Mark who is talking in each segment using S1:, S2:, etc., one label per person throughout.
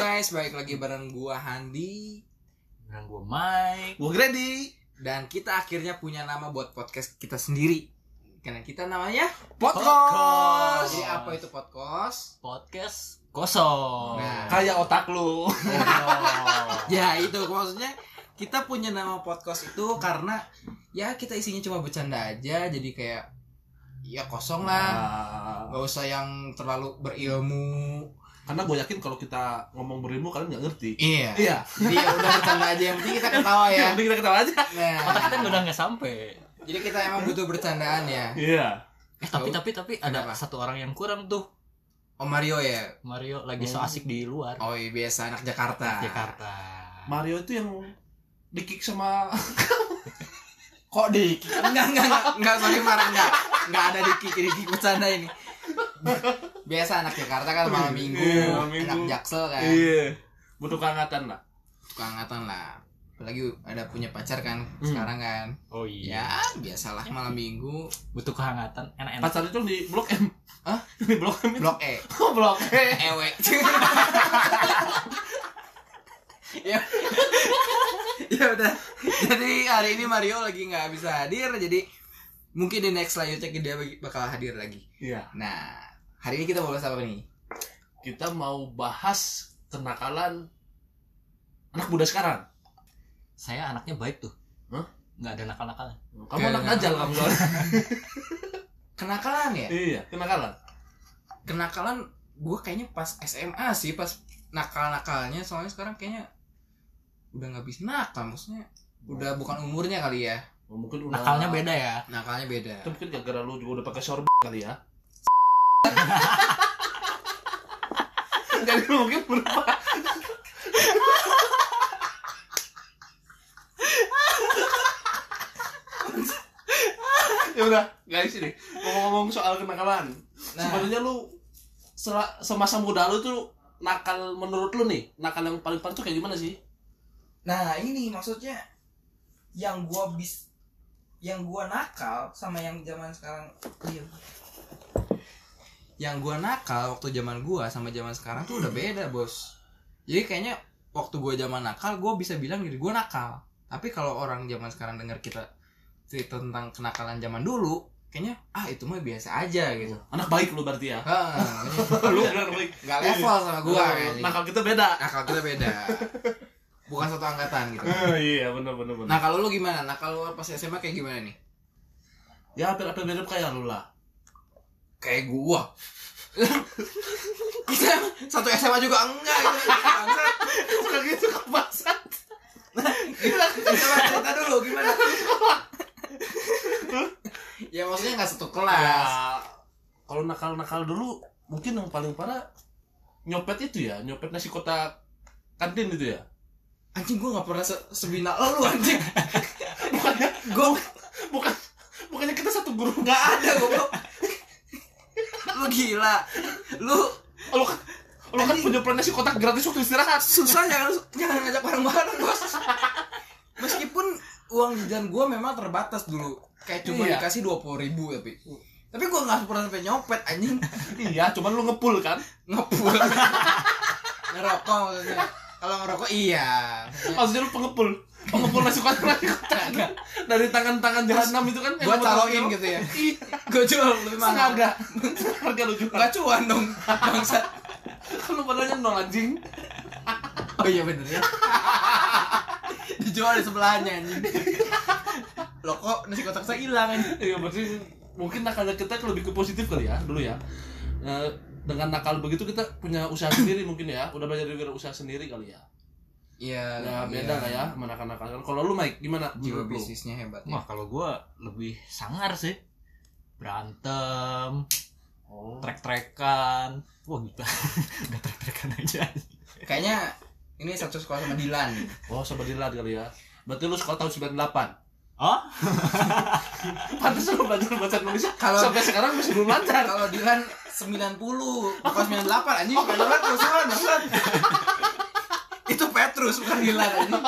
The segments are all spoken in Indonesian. S1: guys, balik lagi bareng gua Handi
S2: Dan gue Mike
S3: Gue Grady
S1: dan kita akhirnya punya nama buat podcast kita sendiri. Karena kita namanya
S3: Podcast.
S1: Jadi apa itu podcast?
S2: Podcast kosong
S1: Nah.
S3: Kayak otak lu
S2: Kosong.
S1: Ya itu maksudnya kita punya nama podcast itu karena ya kita isinya cuma bercanda aja jadi kayak ya kosong lah.
S3: Nah,
S1: Gak usah yang terlalu berilmu.
S3: Karena gue yakin kalau kita ngomong berilmu kalian nggak ngerti
S1: Iya.
S3: Iya
S1: Jadi ya udah bercanda aja yang penting kita ketawa ya.
S3: Yang penting kita ketawa aja
S1: Nah,
S2: Otak kita udah nggak sampai
S1: jadi kita emang butuh bercandaan ya.
S3: Iya
S2: Eh tapi tapi tapi ada
S1: Kenapa?
S2: satu orang yang kurang tuh
S1: Om Mario ya.
S2: Mario lagi so
S3: Hmm.
S2: asik di luar
S1: Oh iya, biasa anak
S2: nah.
S1: Jakarta.
S2: Jakarta
S3: Mario itu yang dikick sama
S1: Kok di Enggak enggak enggak enggak sorry marah enggak. Enggak ada di kick di kick bercanda ini. Biasa anak Jakarta kan malam minggu,
S3: Iya, malam
S1: anak
S3: minggu.
S1: Jaksel kan.
S3: Iya Butuh kehangatan lah
S1: Suka angkatan lah. Apalagi ada punya pacar kan
S3: Hmm. Iya.
S1: sekarang kan.
S2: Oh
S1: Ya, biasalah malam minggu.
S2: Butuh kehangatan Enak-enak
S3: Pacar itu di Blok M
S1: Hah?
S3: Di Blok M itu
S1: Blok E,
S3: Oh, Blok M
S1: ewe. ya. ya udah. Jadi hari ini Mario lagi nggak bisa hadir jadi mungkin di next selanjutnya dia bakal hadir lagi.
S3: Iya
S1: Nah, hari ini kita mau bahas apa nih?
S3: Kita mau bahas kenakalan anak muda sekarang
S2: Saya anaknya baik tuh
S3: Hah?
S2: Nggak ada nakal-nakal
S3: Kamu anak
S1: Kenakalan.
S3: najal kamu soalnya.
S1: Kenakalan ya?
S3: Iya Kenakalan
S1: Kenakalan gue kayaknya pas SMA sih, pas nakal-nakalnya. Soalnya sekarang kayaknya udah nggak bisa nakal, maksudnya udah bukan umurnya kali ya.
S3: Oh, Mungkin udah
S2: Nakalnya beda ya
S1: Nakalnya beda.
S3: Itu mungkin gara-gara lu juga udah pakai sorbet kali ya. Jadi mungkin berubah. ya udah guys ini ngomong-ngomong soal kenakalan
S1: Nah,
S3: sebenarnya lu sela- semasa muda lu tuh nakal menurut lu nih nakal yang paling parah tuh kayak gimana sih
S1: nah ini maksudnya yang gua bis yang gua nakal sama yang zaman sekarang iya. yang gua nakal waktu zaman gua sama zaman sekarang tuh udah beda bos jadi kayaknya waktu gua zaman nakal gua bisa bilang diri gua nakal tapi kalau orang zaman sekarang dengar kita cerita tentang kenakalan zaman dulu kayaknya ah itu mah biasa aja gitu
S3: anak baik lu berarti ya Iya.
S1: Heeh,
S3: lu benar baik Oh, iya.
S1: nggak level sama gua kayaknya.
S3: nakal kita beda
S1: nakal kita beda bukan satu angkatan gitu
S3: Eh, iya benar benar benar
S1: Nah kalau lu gimana? Nah kalau lu pas SMA kayak gimana nih?
S3: ya hampir-hampir mirip kayak lu lah
S1: Kayak gua. Kita satu SMA juga enggak gitu. Bangsat.
S3: bukan gitu kebasan
S1: Gimana? Coba cerita dulu gimana? ya maksudnya nggak satu kelas.
S3: ya kalau nakal-nakal dulu mungkin yang paling parah nyopet itu ya nyopet nasi kotak kantin itu ya
S1: Anjing gua nggak pernah se sebina lo lu anjing.
S3: bukannya
S1: Gua
S3: bukan bukannya kita satu guru
S1: nggak ada goblok. Lu gila. Lu
S3: lo kan lo kan penyopet nasi kotak gratis waktu istirahat
S1: susah jangan jangan ngajak bareng-bareng bos. Meskipun uang jajan gua memang terbatas dulu. Kayak cuma
S3: Iya.
S1: dikasih dua ribu tapi. Tapi gua nggak pernah sampai nyopet anjing.
S3: iya cuman lu ngepul kan
S1: ngepul ngerokok maksudnya kalau ngerokok iya
S3: Kan maksudnya lu pengepul pengepul nasi kotak nasi kotak dari tangan-tangan jahanam itu kan
S1: Buat caloin gitu ya? gue jual lebih mahal
S3: sengaja sengaja lu juga
S1: nggak cuan dong bangsat
S3: kalau padahal nol anjing
S1: oh iya bener ya dijual di sebelahnya anjing lo kok nasi kotak saya hilang anjing
S3: Iya berarti mungkin nakalnya kita lebih ke positif kali ya dulu ya. Eh, dengan nakal begitu kita punya usaha sendiri mungkin ya. Udah belajar dari usaha sendiri kali ya.
S1: iya
S3: Ya beda lah ya sama nakal-nakal. Kalau lu Mike gimana?
S1: jiwa
S3: menurut lu?
S1: bisnisnya hebat ya
S2: Wah kalau gue lebih sangar sih Berantem
S3: Oh.
S2: Trek-trekan Wah gitu Udah trek-trekan aja
S1: kayaknya ini satu sekolah sama Dilan
S3: Oh, sama Dilan kali ya. Berarti lu sekolah tahun 98.
S2: Oh?
S3: Pantes lu belajar bahasa Indonesia
S1: Kalau-
S3: sampai sekarang masih belum lancar.
S1: kalau Dilan 90 bukan 98 anjing 98 perusahaan maksud itu Petrus bukan Dilan anjing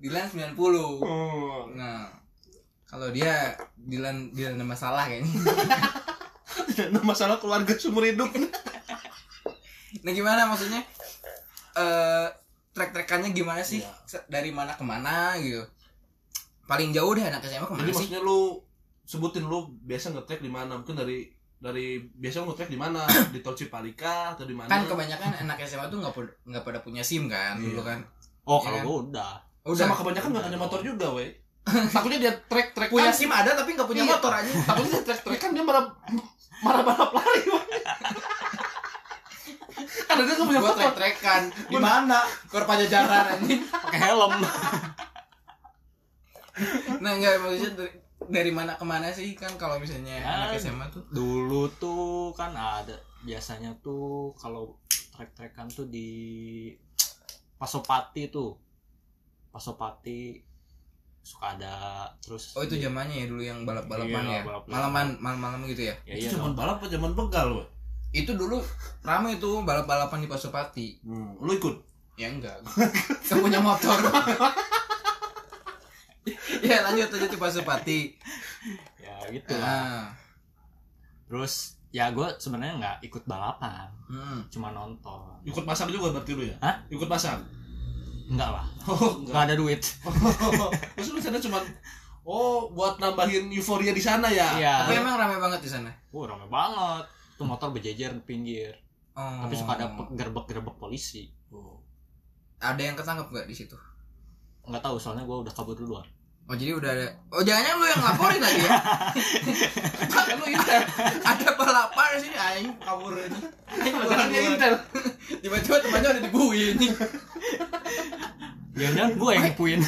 S1: Dilan 90
S3: Oh.
S1: nah kalau dia Dilan Dilan ada masalah kayaknya
S3: Ada masalah keluarga seumur hidup.
S1: Nah gimana maksudnya? Eh trek-trekannya gimana sih?
S3: Iya.
S1: Se- Dari mana ke mana gitu? Paling jauh deh anak SMA
S3: Jadi
S1: kemana sih?
S3: maksudnya lu sebutin lu biasa ngetrek di mana? Mungkin dari dari biasa lu ngetrek di mana? di Tol Cipalika atau di mana?
S1: Kan kebanyakan anak SMA tuh nggak pu- nggak pada punya SIM kan dulu
S3: Iya.
S1: kan.
S2: Oh,
S1: Iya
S2: kalau
S1: kan?
S2: gua udah.
S1: Udah
S3: Sama kebanyakan nggak ada motor juga, weh. Takutnya dia trek trek
S1: punya SIM ada tapi nggak punya
S3: Iya.
S1: motor aja.
S3: Takutnya dia trek trek kan dia marah marah balap lari, weh.
S1: Kan
S3: Karena dia nggak punya
S1: Gua
S3: motor.
S1: trek-trekan di mana? Kor Pajajaran anjing.
S2: Pakai helm.
S1: Nah enggak maksudnya dari, dari mana ke mana sih kan kalau misalnya
S2: Ya.
S1: anak SMA tuh
S2: Dulu tuh kan ada biasanya tuh kalau trek-trekan tuh di Pasopati tuh. Pasopati suka ada terus
S1: Oh itu zamannya ya dulu yang balap-balapan
S2: Iya,
S1: ya.
S2: balap-balapan.
S1: Malaman malam-malam gitu ya.
S2: ya,
S3: Itu
S2: iya
S3: zaman
S2: dong.
S3: balap apa zaman begal, weh?
S1: Itu dulu rame tuh balap-balapan di Pasopati.
S3: Hmm, lu ikut.
S1: Ya enggak. Kan punya motor. ya lanjut aja di Pasopati.
S2: ya gitu lah.
S1: Nah,
S2: terus ya gue sebenarnya nggak ikut balapan
S1: hmm.
S2: cuma nonton
S3: Ikut masak juga berarti lu ya?
S2: Hah?
S3: Ikut masak.
S2: enggak lah
S3: Oh,
S2: nggak ada duit
S3: Terus lu sana cuman oh buat nambahin euforia di sana ya.
S2: Iya.
S1: Tapi emang rame banget di sana.
S2: Wah rame banget tuh motor berjejer di pinggir
S1: Oh.
S2: tapi suka ada pe- gerbek-gerbek polisi
S3: Oh.
S1: ada yang ketangkep nggak di situ?
S2: nggak tahu soalnya gue udah kabur duluan
S1: Oh jadi udah ada. Oh jangan lu yang laporin lagi ya? iya.
S3: Kan lu intel.
S1: ada balapan di sini anjing kabur ini. Anjing
S3: Kan dia
S1: kabur.
S3: intel.
S1: Tiba-tiba temannya udah dibui ini.
S2: jangan-jangan gue Ya yang nipuin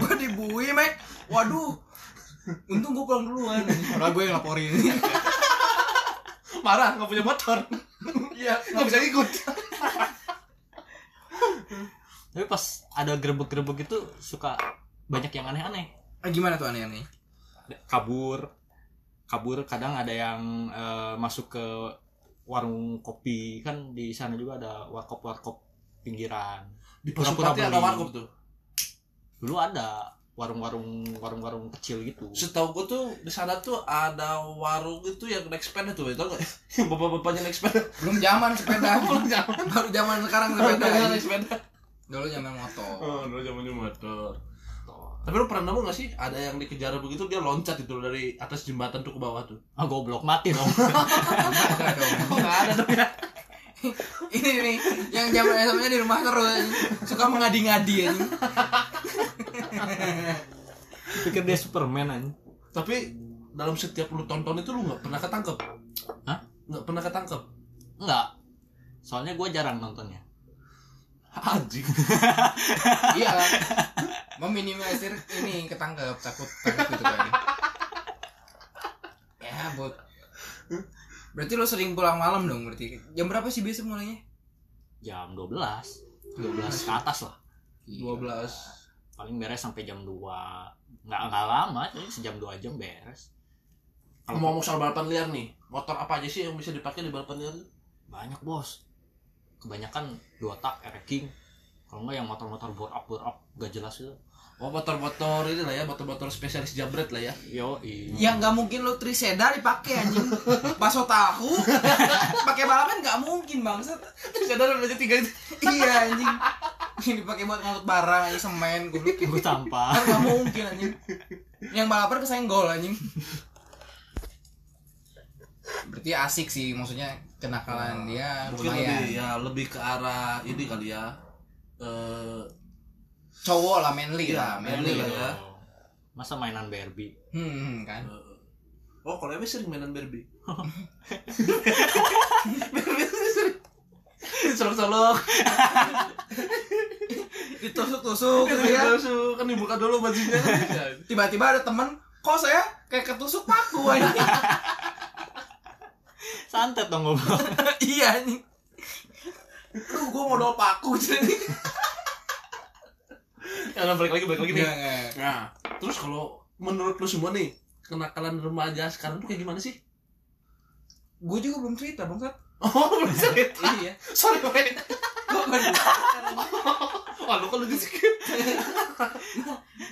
S1: Gua dibui, Mac. Waduh. Untung gua pulang duluan. Padahal gue yang laporin.
S3: Marah nggak punya motor. Iya, nggak bisa ikut.
S2: tapi pas ada gerbek-gerbek itu suka banyak yang aneh-aneh
S1: Ah, Gimana tuh aneh-aneh?
S2: kabur kabur kadang ada yang eh, masuk ke warung kopi kan di sana juga ada warkop-warkop pinggiran
S3: Di
S2: Pura-pura
S3: Pasopati ada
S2: beli.
S3: warkop tuh.
S2: dulu ada warung-warung warung-warung kecil gitu
S3: Setahu gua tuh di sana tuh ada warung itu yang naik sepeda tuh, tau nggak? Yang bapak-bapaknya naik sepeda.
S1: Belum zaman sepeda.
S3: Belum zaman.
S1: Baru zaman sekarang sepeda.
S3: Bapak-bapaknya naik sepeda.
S1: Dulu zaman motor.
S3: Oh, dulu zamannya motor. Tapi lu pernah nemu gak sih ada yang dikejar begitu dia loncat itu dari atas jembatan tuh ke bawah tuh?
S2: ah goblok mati dong
S1: Ada dong.
S3: Oh, nggak ada tuh ya.
S1: Ini nih yang zaman SMA di rumah terus suka mengadi-ngadi anjing.
S2: pikir dia superman aja
S3: Tapi dalam setiap lu tonton itu lu nggak pernah ketangkep.
S2: Hah?
S3: Nggak pernah ketangkep.
S2: enggak soalnya gue jarang nontonnya
S3: Anjing.
S1: Iya. Meminimalisir ini ketangkep takut takut gitu kan. Ya, buat Berarti lo sering pulang malam dong berarti. Jam berapa sih biasa mulainya?
S2: jam 12 12 ke atas lah
S3: 12
S2: paling beres sampai jam 2 nggak nggak lama sih sejam dua jam beres
S3: Kalau mau ngomong soal balapan liar nih, motor apa aja sih yang bisa dipakai di balapan liar?
S2: banyak bos kebanyakan dua tak air king kalau nggak yang motor-motor bore up bore up gak jelas itu
S3: Oh motor-motor ini lah ya, motor-motor spesialis jabret lah ya.
S2: yo
S1: Ya nggak mungkin lo triseda dipakai anjing. Bakso tahu. pakai balapan nggak mungkin bangsat.
S3: Sadar aja tiga itu.
S1: Iya anjing. Ini dipakai buat ngangkut barang anjing semen goblok.
S2: gue
S1: Kan
S2: tampar
S1: nggak mungkin anjing. Yang balapan kesenggol anjing. Berarti asik sih maksudnya kenakalan dia
S3: Ah, Mungkin lebih
S1: lumayan.
S3: ya lebih ke arah ini kali ya. Eh
S1: Cowok lah manly
S3: Iya,
S1: lah, manly.
S3: manly lah. ya.
S2: masa mainan Barbie
S1: Hmm, kan.
S3: eh, Oh, kalau Emi sering mainan Barbie. Barbie tuh sering. Dicolok-colok,
S1: Ditusuk-tusuk gitu ya.
S3: ditusuk, kan dibuka dulu bajunya. kan bisa.
S1: Tiba-tiba ada temen, kok saya kayak ketusuk paku anjing.
S2: santet dong goblok
S1: iya nih lu gue modal paku jadi
S3: Ya, nah, balik lagi, balik lagi nih.
S1: Iya, nggak
S3: Nah, terus kalau menurut lu semua nih, kenakalan remaja sekarang tuh kayak gimana sih?
S1: gue juga belum cerita bang Sat.
S3: Oh, belum cerita.
S1: iya
S3: Sorry, gue.
S1: gue baru
S3: Wah, lu kalau di skip.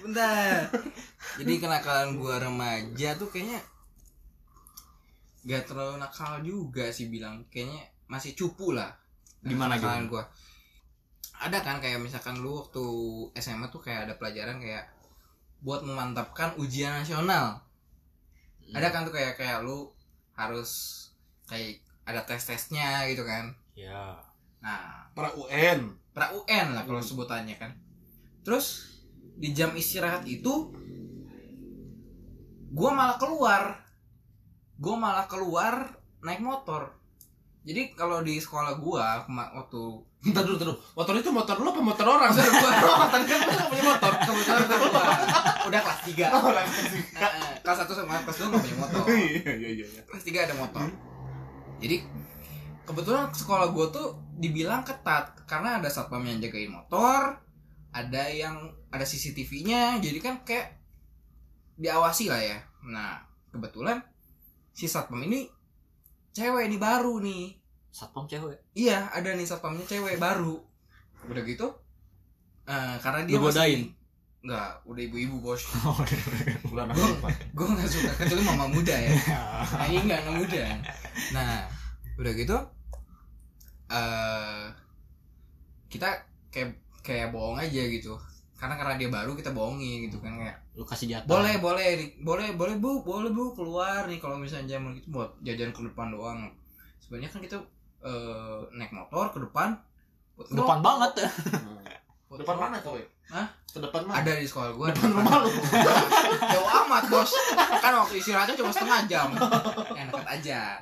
S1: bentar jadi kenakalan gue remaja tuh kayaknya gak terlalu nakal juga sih bilang kayaknya masih cupu lah
S2: Gimana,
S1: kesalahan gua ada kan kayak misalkan lu waktu SMA tuh kayak ada pelajaran kayak buat memantapkan ujian nasional
S2: Iya.
S1: ada kan tuh kayak kayak lu harus kayak ada tes tesnya gitu kan
S2: Ya.
S1: nah
S3: Para UN.
S1: pra UN lah kalau sebutannya kan terus di jam istirahat itu gua malah keluar gua malah keluar naik motor jadi kalau di sekolah gua kema- waktu
S3: Entar dulu, entar dulu. Motor itu motor lu apa motor orang?
S1: Motor gua.
S3: Tadi kan lu nggak punya motor.
S1: kebetulan motor gua Oh, udah kelas 3
S3: Orang
S1: kelas 1 sama kelas 2 gak punya motor
S3: Iya, iya, iya.
S1: kelas 3 ada motor jadi kebetulan sekolah gue tuh dibilang ketat karena ada satpam yang jagain motor ada yang ada CCTV-nya jadi kan kayak diawasi lah ya nah kebetulan si satpam ini cewek ini baru nih
S2: Satpam cewek.
S1: iya ada nih satpamnya cewek baru udah gitu eh, karena dia
S2: Lu godain?
S1: masih- nggak udah ibu-ibu bos
S2: Bulan
S1: gue nggak suka kecuali mama muda ya Nah, ini enggak anak muda. Nah, udah gitu eh kita kayak kayak bohong aja gitu. Karena karena dia baru kita bohongin gitu kan kayak
S2: Lu kasih jatah.
S1: boleh boleh Ri- boleh boleh bu boleh bu keluar nih kalau misalnya jaman gitu buat jajan ke depan doang sebenarnya kan kita eh, naik motor ke depan buat ngerokok,
S2: Depan banget.
S1: buat
S3: Nah, Depan
S1: ngerokok.
S3: mana kau?
S1: Hah?
S3: Ke depan mana?
S1: ada di sekolah gua
S3: Depan rumah lu.
S1: jauh amat bos kan waktu istirahatnya cuma setengah jam enak aja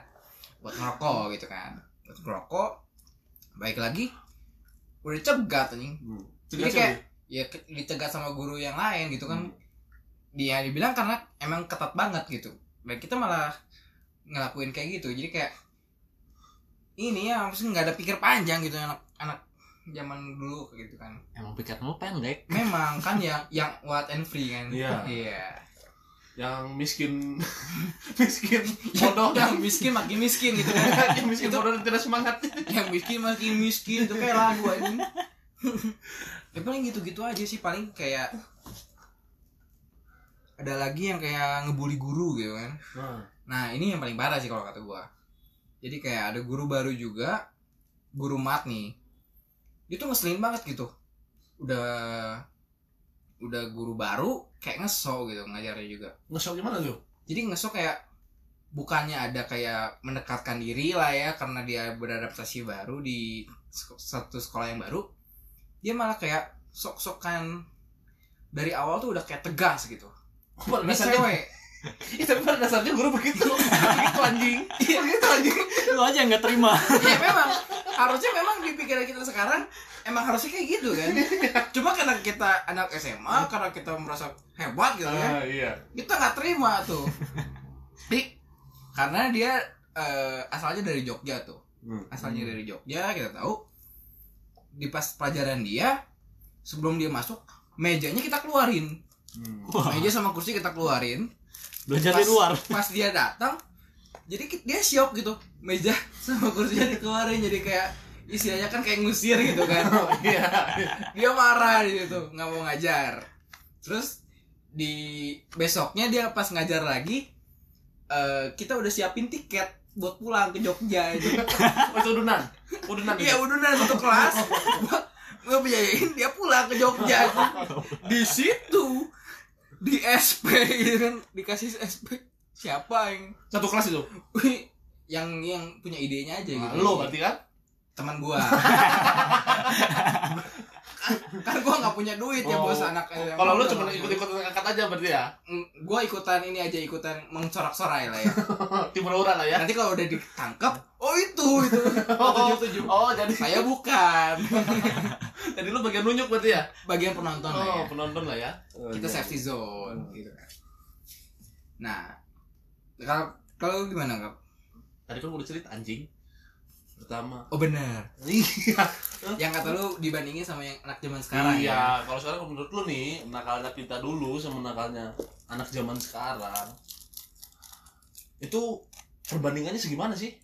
S1: buat ngerokok gitu kan buat ngerokok baik lagi udah cegat anjing
S3: Jadi
S1: Jadi kayak- ya ke- dicegat sama guru yang lain gitu kan dia dibilang karena emang ketat banget gitu dan kita malah ngelakuin kayak gitu jadi kayak ini ya maksudnya nggak ada pikir panjang gitu anak anak zaman dulu gitu kan
S2: Emang pikiran lu pendek.
S1: memang kan yang yang what and free kan
S3: Iya.
S1: iya
S3: yang miskin miskin
S1: bodoh yang miskin makin miskin gitu kan
S3: yang miskin bodoh dan tidak semangat
S1: yang miskin makin miskin itu kayak lagu ini ya paling gitu-gitu aja sih paling kayak ada lagi yang kayak ngebully guru gitu kan nah ini yang paling parah sih kalau kata gua jadi kayak ada guru baru juga guru mat nih dia tuh ngeselin banget gitu udah udah guru baru kayak ngesok gitu ngajarnya juga
S3: ngesok gimana tuh
S1: jadi ngesok kayak bukannya ada kayak mendekatkan diri lah ya karena dia beradaptasi baru di sek- satu sekolah yang baru dia malah kayak sok-sokan dari awal tuh udah kayak tegas gitu
S3: pada
S1: ini
S3: dasarnya
S1: cewek
S3: ya, tapi pada dasarnya guru begitu
S1: Iya.
S3: begitu anjing Iya, begitu
S1: Ah,
S3: anjing
S2: Lu aja yang gak terima.
S1: ya memang harusnya memang di pikiran kita sekarang emang harusnya kayak gitu kan cuma karena kita anak SMA karena kita merasa hebat gitu kan
S3: iya
S1: kita nggak terima tuh Di, karena dia eh, asalnya dari Jogja tuh
S3: Hmm.
S1: asalnya
S2: Hmm.
S1: dari Jogja kita tahu di pas pelajaran dia sebelum dia masuk mejanya kita keluarin Hmm.
S2: Wah,
S1: meja sama kursi kita keluarin
S2: Ah. belajar di
S1: Pas-
S2: luar.
S1: pas dia datang jadi ki- dia syok gitu meja sama kursinya dikeluarin jadi kayak isinya kan kayak ngusir gitu kan
S3: iya
S1: dia marah di situ nggak mau ngajar terus di besoknya dia pas ngajar lagi eh, kita udah siapin tiket buat pulang ke Jogja itu
S3: itu udunan udunan
S1: iya
S3: gitu.
S1: udah udah satu kelas gua gua biayain dia pulang ke Jogja di situ di SP gitu kan dikasih SP siapa yang
S3: satu kelas itu
S1: Wih, yang yang punya idenya aja gitu
S3: lo berarti kan
S1: teman gua kan gua nggak punya duit ya bos
S3: Oh,
S1: anak eh,
S3: kalau lo
S1: muda, nggak
S3: cuma
S1: punya
S3: ikut ikut angkat aja berarti ya
S1: Mm, gua ikutan ini aja ikutan mengcorak-corai lah ya
S3: timur ura lah ya
S1: nanti kalau udah ditangkap oh itu itu
S3: oh,
S1: tujuh tujuh
S3: oh jadi
S1: saya bukan
S3: jadi lo bagian nunjuk berarti ya
S1: bagian penonton lah
S3: oh
S1: ya
S3: penonton lah ya
S1: kita safety
S3: Hmm.
S1: zone gitu kan nah kalau kalau lu gimana kak
S3: tadi kan udah cerita anjing pertama
S1: oh benar
S3: iya
S1: yang kata lu dibandingin sama yang anak zaman sekarang
S3: iya,
S1: ya
S3: kalau sekarang menurut lu nih, nakalnya kita dulu sama nakalnya anak zaman sekarang. Itu perbandingannya segimana sih?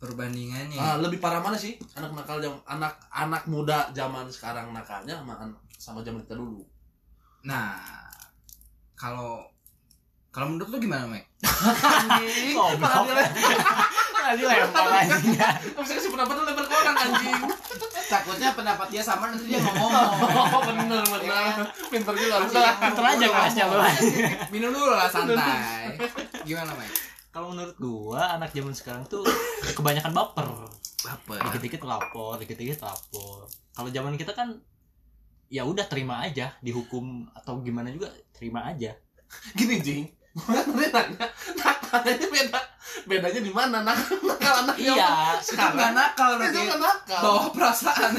S1: perbandingannya
S3: Ah, lebih parah mana sih? Anak nakal jam anak anak muda zaman sekarang nakalnya sama an- sama zaman kita dulu.
S1: nah kalau kalau menurut lu gimana Mike
S3: Anjing,
S2: Goblok.
S3: malah dia-
S2: Tadi lempar anjing.
S3: Nggak bisa kasih pendapat lu lempar ke orang anjing.
S4: Takutnya pendapat dia sama nanti dia ngomong.
S3: Oh bener bener. Pinter juga lu. Udah.
S2: Pinter aja kerasnya lu.
S1: Minum dulu lah santai. Gimana, Mike?
S2: Kalau menurut gua anak zaman sekarang tuh kebanyakan baper.
S1: Baper.
S2: Dikit-dikit lapor, dikit-dikit lapor. Kalau zaman kita kan ya udah terima aja dihukum atau gimana juga terima aja.
S3: Gini jing. Dia nanya nakalnya beda. Bedanya di mana nakal nakal anak yang
S2: Iya,
S1: Itu nggak
S3: sekarang.
S1: nakal
S3: Itu
S1: nanti.
S3: kan nakal.
S1: Bawa perasaan.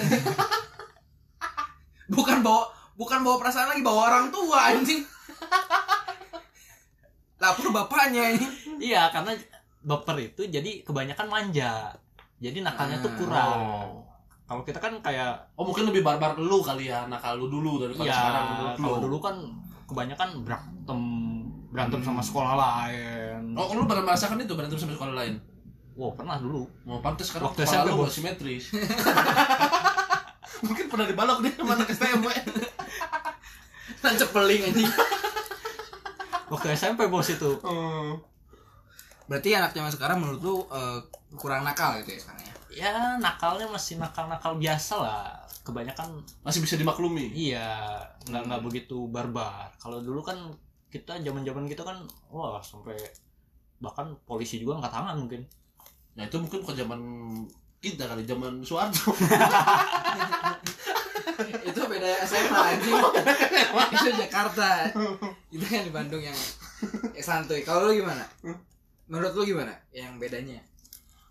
S1: bukan bawa bukan bawa perasaan lagi, bawa orang tua anjing. Lapor bapaknya ini.
S2: iya karena baper itu jadi kebanyakan manja. Jadi nakalnya tuh
S1: Ah.
S2: kurang. Oh. Kalau kita kan kayak
S3: Oh mungkin lebih barbar lu kali ya nakal lu dulu daripada
S2: Iya,
S3: sekarang menurut lu.
S2: kalau dulu kan kebanyakan berantem berantem sama sekolah lain.
S3: Oh, lu pernah merasakan itu berantem sama sekolah lain?
S2: Wow, pernah dulu.
S3: Mau pantas sekarang
S2: Waktu
S3: kepala
S2: SMP,
S3: lu
S2: Bos.
S3: gak simetris. Mungkin pernah dibalok dia sama anak STM. we.
S1: Tancap peling Kan anjing.
S2: Waktu SMP bos itu.
S1: Berarti anak zaman sekarang menurut lu eh, kurang nakal gitu ya sekarang ya?
S2: Ya nakalnya masih nakal-nakal biasa lah. Kebanyakan
S3: Masih bisa dimaklumi.
S2: iya nggak nggak
S3: Hmm.
S2: begitu barbar. Kalau dulu kan kita zaman-zaman kita kan wah sampai bahkan polisi juga angkat tangan mungkin.
S3: Nah, itu mungkin bukan zaman kita kali zaman Soeharto.
S1: itu beda SMA anjing itu Jakarta kita kan di Bandung yang ya, santuy kalau lu gimana menurut lu gimana yang bedanya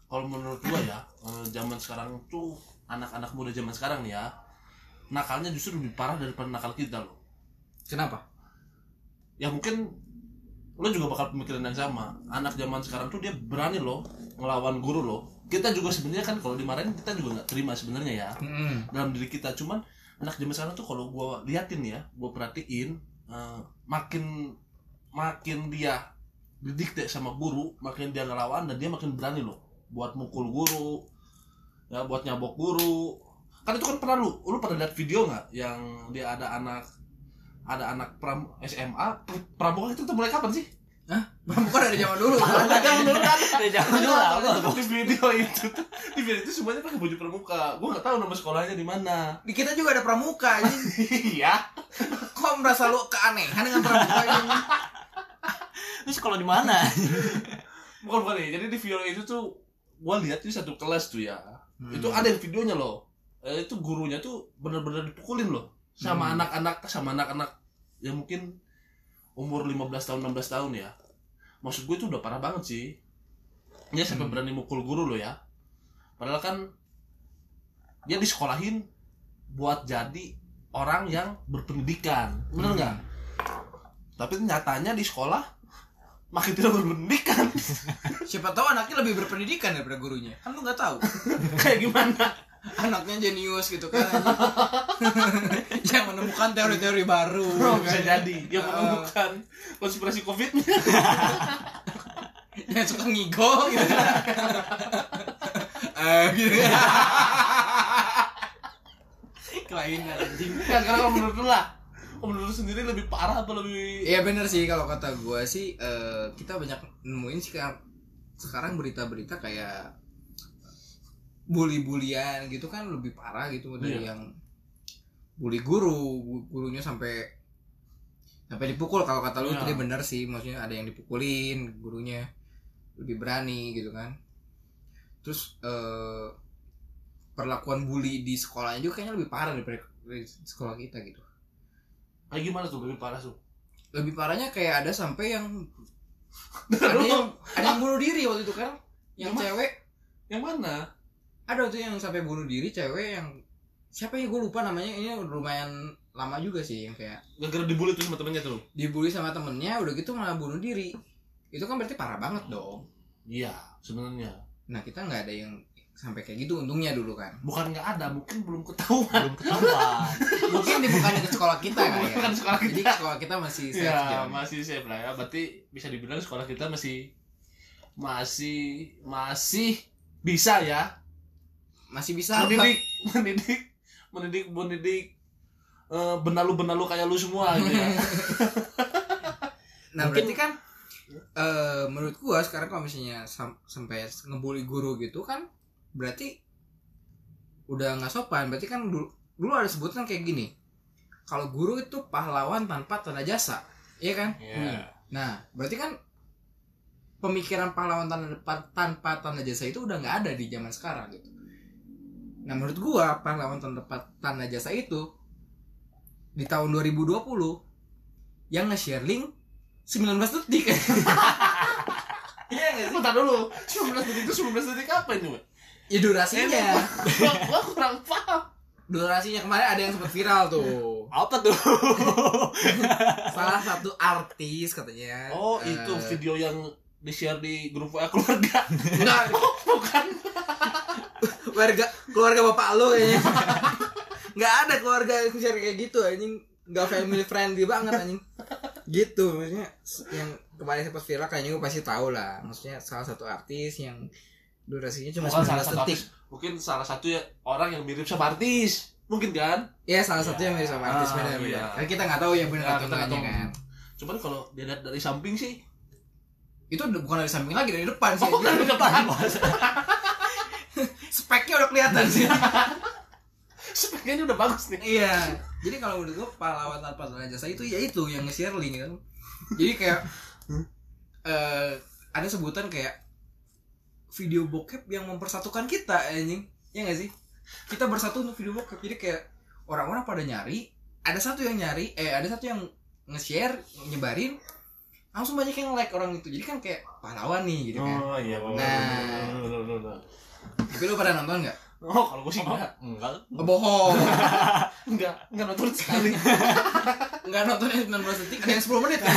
S3: Kalau menurut gua ya, eh, zaman sekarang tuh anak-anak muda zaman sekarang nih ya, nakalnya justru lebih parah daripada nakal kita loh.
S1: kenapa
S3: ya mungkin lo juga bakal pemikiran yang sama anak zaman sekarang tuh dia berani loh ngelawan guru loh kita juga sebenarnya kan kalau dimarahin kita juga nggak terima sebenarnya ya
S1: Hmm.
S3: dalam diri kita cuman anak zaman sekarang tuh kalau gua liatin ya gua perhatiin eh, makin makin dia didikte sama guru makin dia ngelawan dan dia makin berani loh buat mukul guru ya buat nyabok guru kan itu kan pernah lu lu pernah lihat video nggak yang dia ada anak ada anak pram SMA pr- pramuka itu tuh mulai kapan sih?
S1: pramuka dari zaman dulu
S3: Jangan dulu kan.
S2: Ya, Jangan dulu lah.
S3: Ada
S2: Bos.
S3: tuh Di video itu tuh, di video itu semuanya pakai baju pramuka. Gua nggak tahu nama sekolahnya di mana.
S1: di kita juga ada pramuka anjing
S3: Iya.
S1: kok merasa lu keanehan dengan pramuka ini
S2: Terus kalau di mana?
S3: bukan bukan ya jadi di video itu tuh gua lihat di satu kelas tuh ya
S1: Hmm.
S3: itu ada yang videonya loh Eh, itu gurunya tuh bener-bener dipukulin loh sama
S1: Hmm.
S3: anak-anak sama anak-anak yang mungkin umur 15 tahun 16 tahun ya maksud gue itu udah parah banget sih dia
S1: Hmm.
S3: sampai berani mukul guru loh ya padahal kan dia disekolahin buat jadi orang yang berpendidikan
S1: Hmm.
S3: bener nggak tapi nyatanya di sekolah makin tidak berpendidikan
S1: siapa tahu anaknya lebih berpendidikan daripada gurunya kan lu nggak tahu
S3: kayak gimana
S1: anaknya jenius gitu kan anjing. yang menemukan teori-teori baru kan.
S3: bisa jadi
S1: Eh,
S3: dia menemukan konspirasi covid
S1: yang suka ngigo gitu Eh, gitu kelainan anjing
S3: ya sekarang kalau menurut lu lah kalau menurut lu sendiri lebih parah apa lebih
S1: Iya bener sih kalau kata gue sih eh, kita banyak nemuin sih kayak- sekarang berita-berita kayak bully-bulian gitu kan lebih parah gitu dari
S3: Iya.
S1: yang bully guru gu- gurunya sampai sampai dipukul kalau kata lu
S3: Iya.
S1: tadi bener sih maksudnya ada yang dipukulin gurunya lebih berani gitu kan terus eh, perlakuan bully di sekolahnya juga kayaknya lebih parah daripada dari sekolah kita gitu
S3: kayak gimana tuh lebih parah tuh
S1: lebih parahnya kayak ada sampai yang ada yang ada yang bunuh diri waktu itu kan yang
S3: Gimana?
S1: cewek
S3: yang mana
S1: ada tuh yang sampai bunuh diri cewek yang siapa ya gue lupa namanya ini lumayan lama juga sih yang kayak
S3: gara-gara dibully tuh sama temennya tuh
S1: dibully sama temennya udah gitu malah bunuh diri itu kan berarti parah banget dong
S3: iya sebenarnya
S1: nah kita nggak ada yang sampai kayak gitu untungnya dulu kan
S3: bukan nggak ada mungkin belum ketahuan
S2: Belum ketahuan.
S1: mungkin ini bukannya ke sekolah kita kan ya
S3: bukan sekolah
S1: jadi
S3: kita
S1: sekolah kita masih safe
S3: ya
S1: jauh.
S3: masih safe lah ya berarti bisa dibilang sekolah kita masih masih masih bisa ya
S1: masih bisa
S3: mendidik mendidik mendidik mendidik eh, benalu benalu kayak lu semua gitu ya
S1: nah
S2: Mungkin-
S1: berarti kan eh menurut gua sekarang kalau misalnya sam- sampai ngebully guru gitu kan berarti udah nggak sopan berarti kan dulu, dulu ada sebutan kayak gini kalau guru itu pahlawan tanpa tanda jasa iya kan
S2: Iya.
S1: nah berarti kan pemikiran pahlawan tanpa tanpa tanda jasa itu udah nggak ada di zaman sekarang gitu nah menurut gua pahlawan tanpa tanda jasa itu di tahun 2020 yang nge-share link 19 detik
S3: Iya nggak sih? Bentar dulu. 19 detik itu 19 detik apa ini, Wak? Eh,
S1: ya
S3: Iya.
S1: durasinya
S3: Gua, gua kurang paham.
S1: durasinya kemarin ada yang sempat viral tuh
S2: Apa tuh?
S1: salah satu artis katanya
S3: Oh,
S1: Eh,
S3: itu video yang di-share di grup WA keluarga.
S1: enggak
S3: Bukan.
S1: keluarga keluarga bapak lo kayaknya nggak ada keluarga yang share kayak gitu anjing nggak family friendly banget anjing gitu maksudnya s- yang kemarin sempat viral kayaknya gue pasti tahu lah maksudnya salah satu artis yang durasinya cuma
S3: Bukan
S1: 19
S3: salah satu
S1: detik
S3: artis. Mungkin salah satu ya orang yang mirip sama artis. Mungkin kan?
S1: ya salah satu yang mirip sama artis
S3: Ah,
S1: benar
S3: iya.
S1: benar Tapi Kan kita nggak tahu yang benar
S3: Ya,
S1: atau
S3: kita nggak
S1: enggaknya
S3: tahu.
S1: kan
S3: Cuman kalau dilihat dari samping sih,
S1: itu udah bukan dari samping lagi dari depan sih
S3: oh, kan udah paham.
S1: speknya udah kelihatan sih
S3: Speknya ini udah bagus nih.
S1: Iya. Jadi kalau menurut gue pahlawan tanpa tanda jasa itu ya itu yang nge-share link kan. Jadi kayak eh ada sebutan kayak video bokep yang mempersatukan kita anjing. Ya gak sih? Kita bersatu untuk video bokep. Jadi kayak orang-orang pada nyari, ada satu yang nyari, eh ada satu yang nge-share, nyebarin langsung banyak yang like orang itu. Jadi kan kayak pahlawan nih gitu kan.
S3: iya.
S1: Nah.
S3: bener, bener, bener, bener, bener.
S1: Tapi lu pada nonton gak?
S3: Oh, kalau gue sih enggak.
S2: Enggak.
S1: Oh, bohong.
S3: Enggak, enggak nonton sekali.
S1: Enggak nontonnya 19 detik, ada yang 10 menit. kan?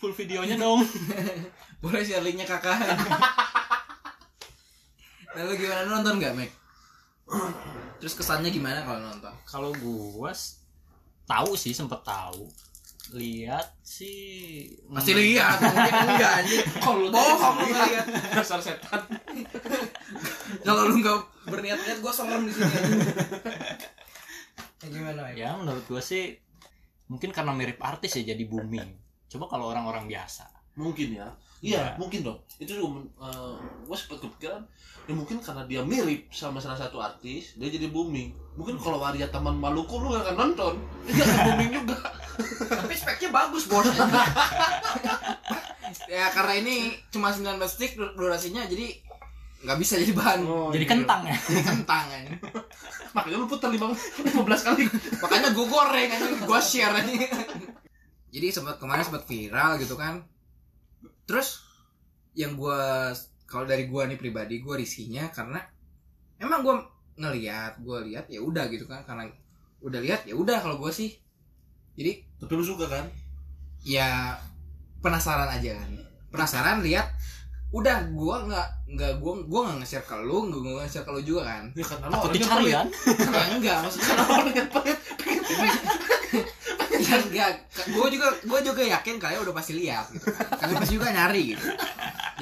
S2: Full videonya dong.
S1: Boleh share linknya kakak Lalu gimana Lu nonton gak Mac? Terus kesannya gimana kalau nonton?
S2: Kalau gua s- tahu sih sempet tahu. Lihat sih.
S1: Pasti
S2: Hmm.
S1: lihat, mungkin enggak anjing.
S3: Kalau lu tanya
S1: Bohong lu
S3: sendiri.
S1: lihat.
S3: Dasar setan.
S1: Kalau lu enggak berniat-niat gua serem di sini. anjing. Ya, gimana Mac?
S2: Ya menurut gua sih mungkin karena mirip artis ya jadi booming. Coba kalau orang-orang biasa.
S3: mungkin ya
S2: Iya.
S3: iya mungkin dong itu juga men- eh, gua sempat kepikiran ya mungkin karena dia mirip sama salah satu artis dia jadi booming mungkin kalau waria taman Maluku lu gak akan nonton dia akan booming juga
S1: Tapi speknya bagus bos. ya karena ini cuma 19 detik dur- durasinya jadi nggak bisa jadi bahan.
S3: Oh,
S2: jadi
S3: iya.
S2: kentang ya.
S1: Jadi kentang anjing.
S3: makanya lu putar lima 15 kali
S1: makanya gue goreng aja gue share aja jadi sempat kemarin sempat viral gitu kan terus yang gue kalau dari gue nih pribadi gue risihnya karena emang gue ngelihat gue lihat ya udah gitu kan karena udah lihat ya udah kalau gue sih jadi
S3: tapi lu suka kan
S1: ya penasaran aja kan penasaran lihat udah gue nggak nggak gue gue nggak nge-share ke lu gue nggak nge-share ke lu juga kan
S3: ya karena lu
S2: Takut
S3: orangnya
S2: dicari
S3: pelit
S2: kan.
S1: ya enggak maksudnya
S3: karena orangnya pelit
S1: ya enggak gue juga gue juga yakin kalian udah pasti lihat gitu kan. kalian pasti juga nyari gitu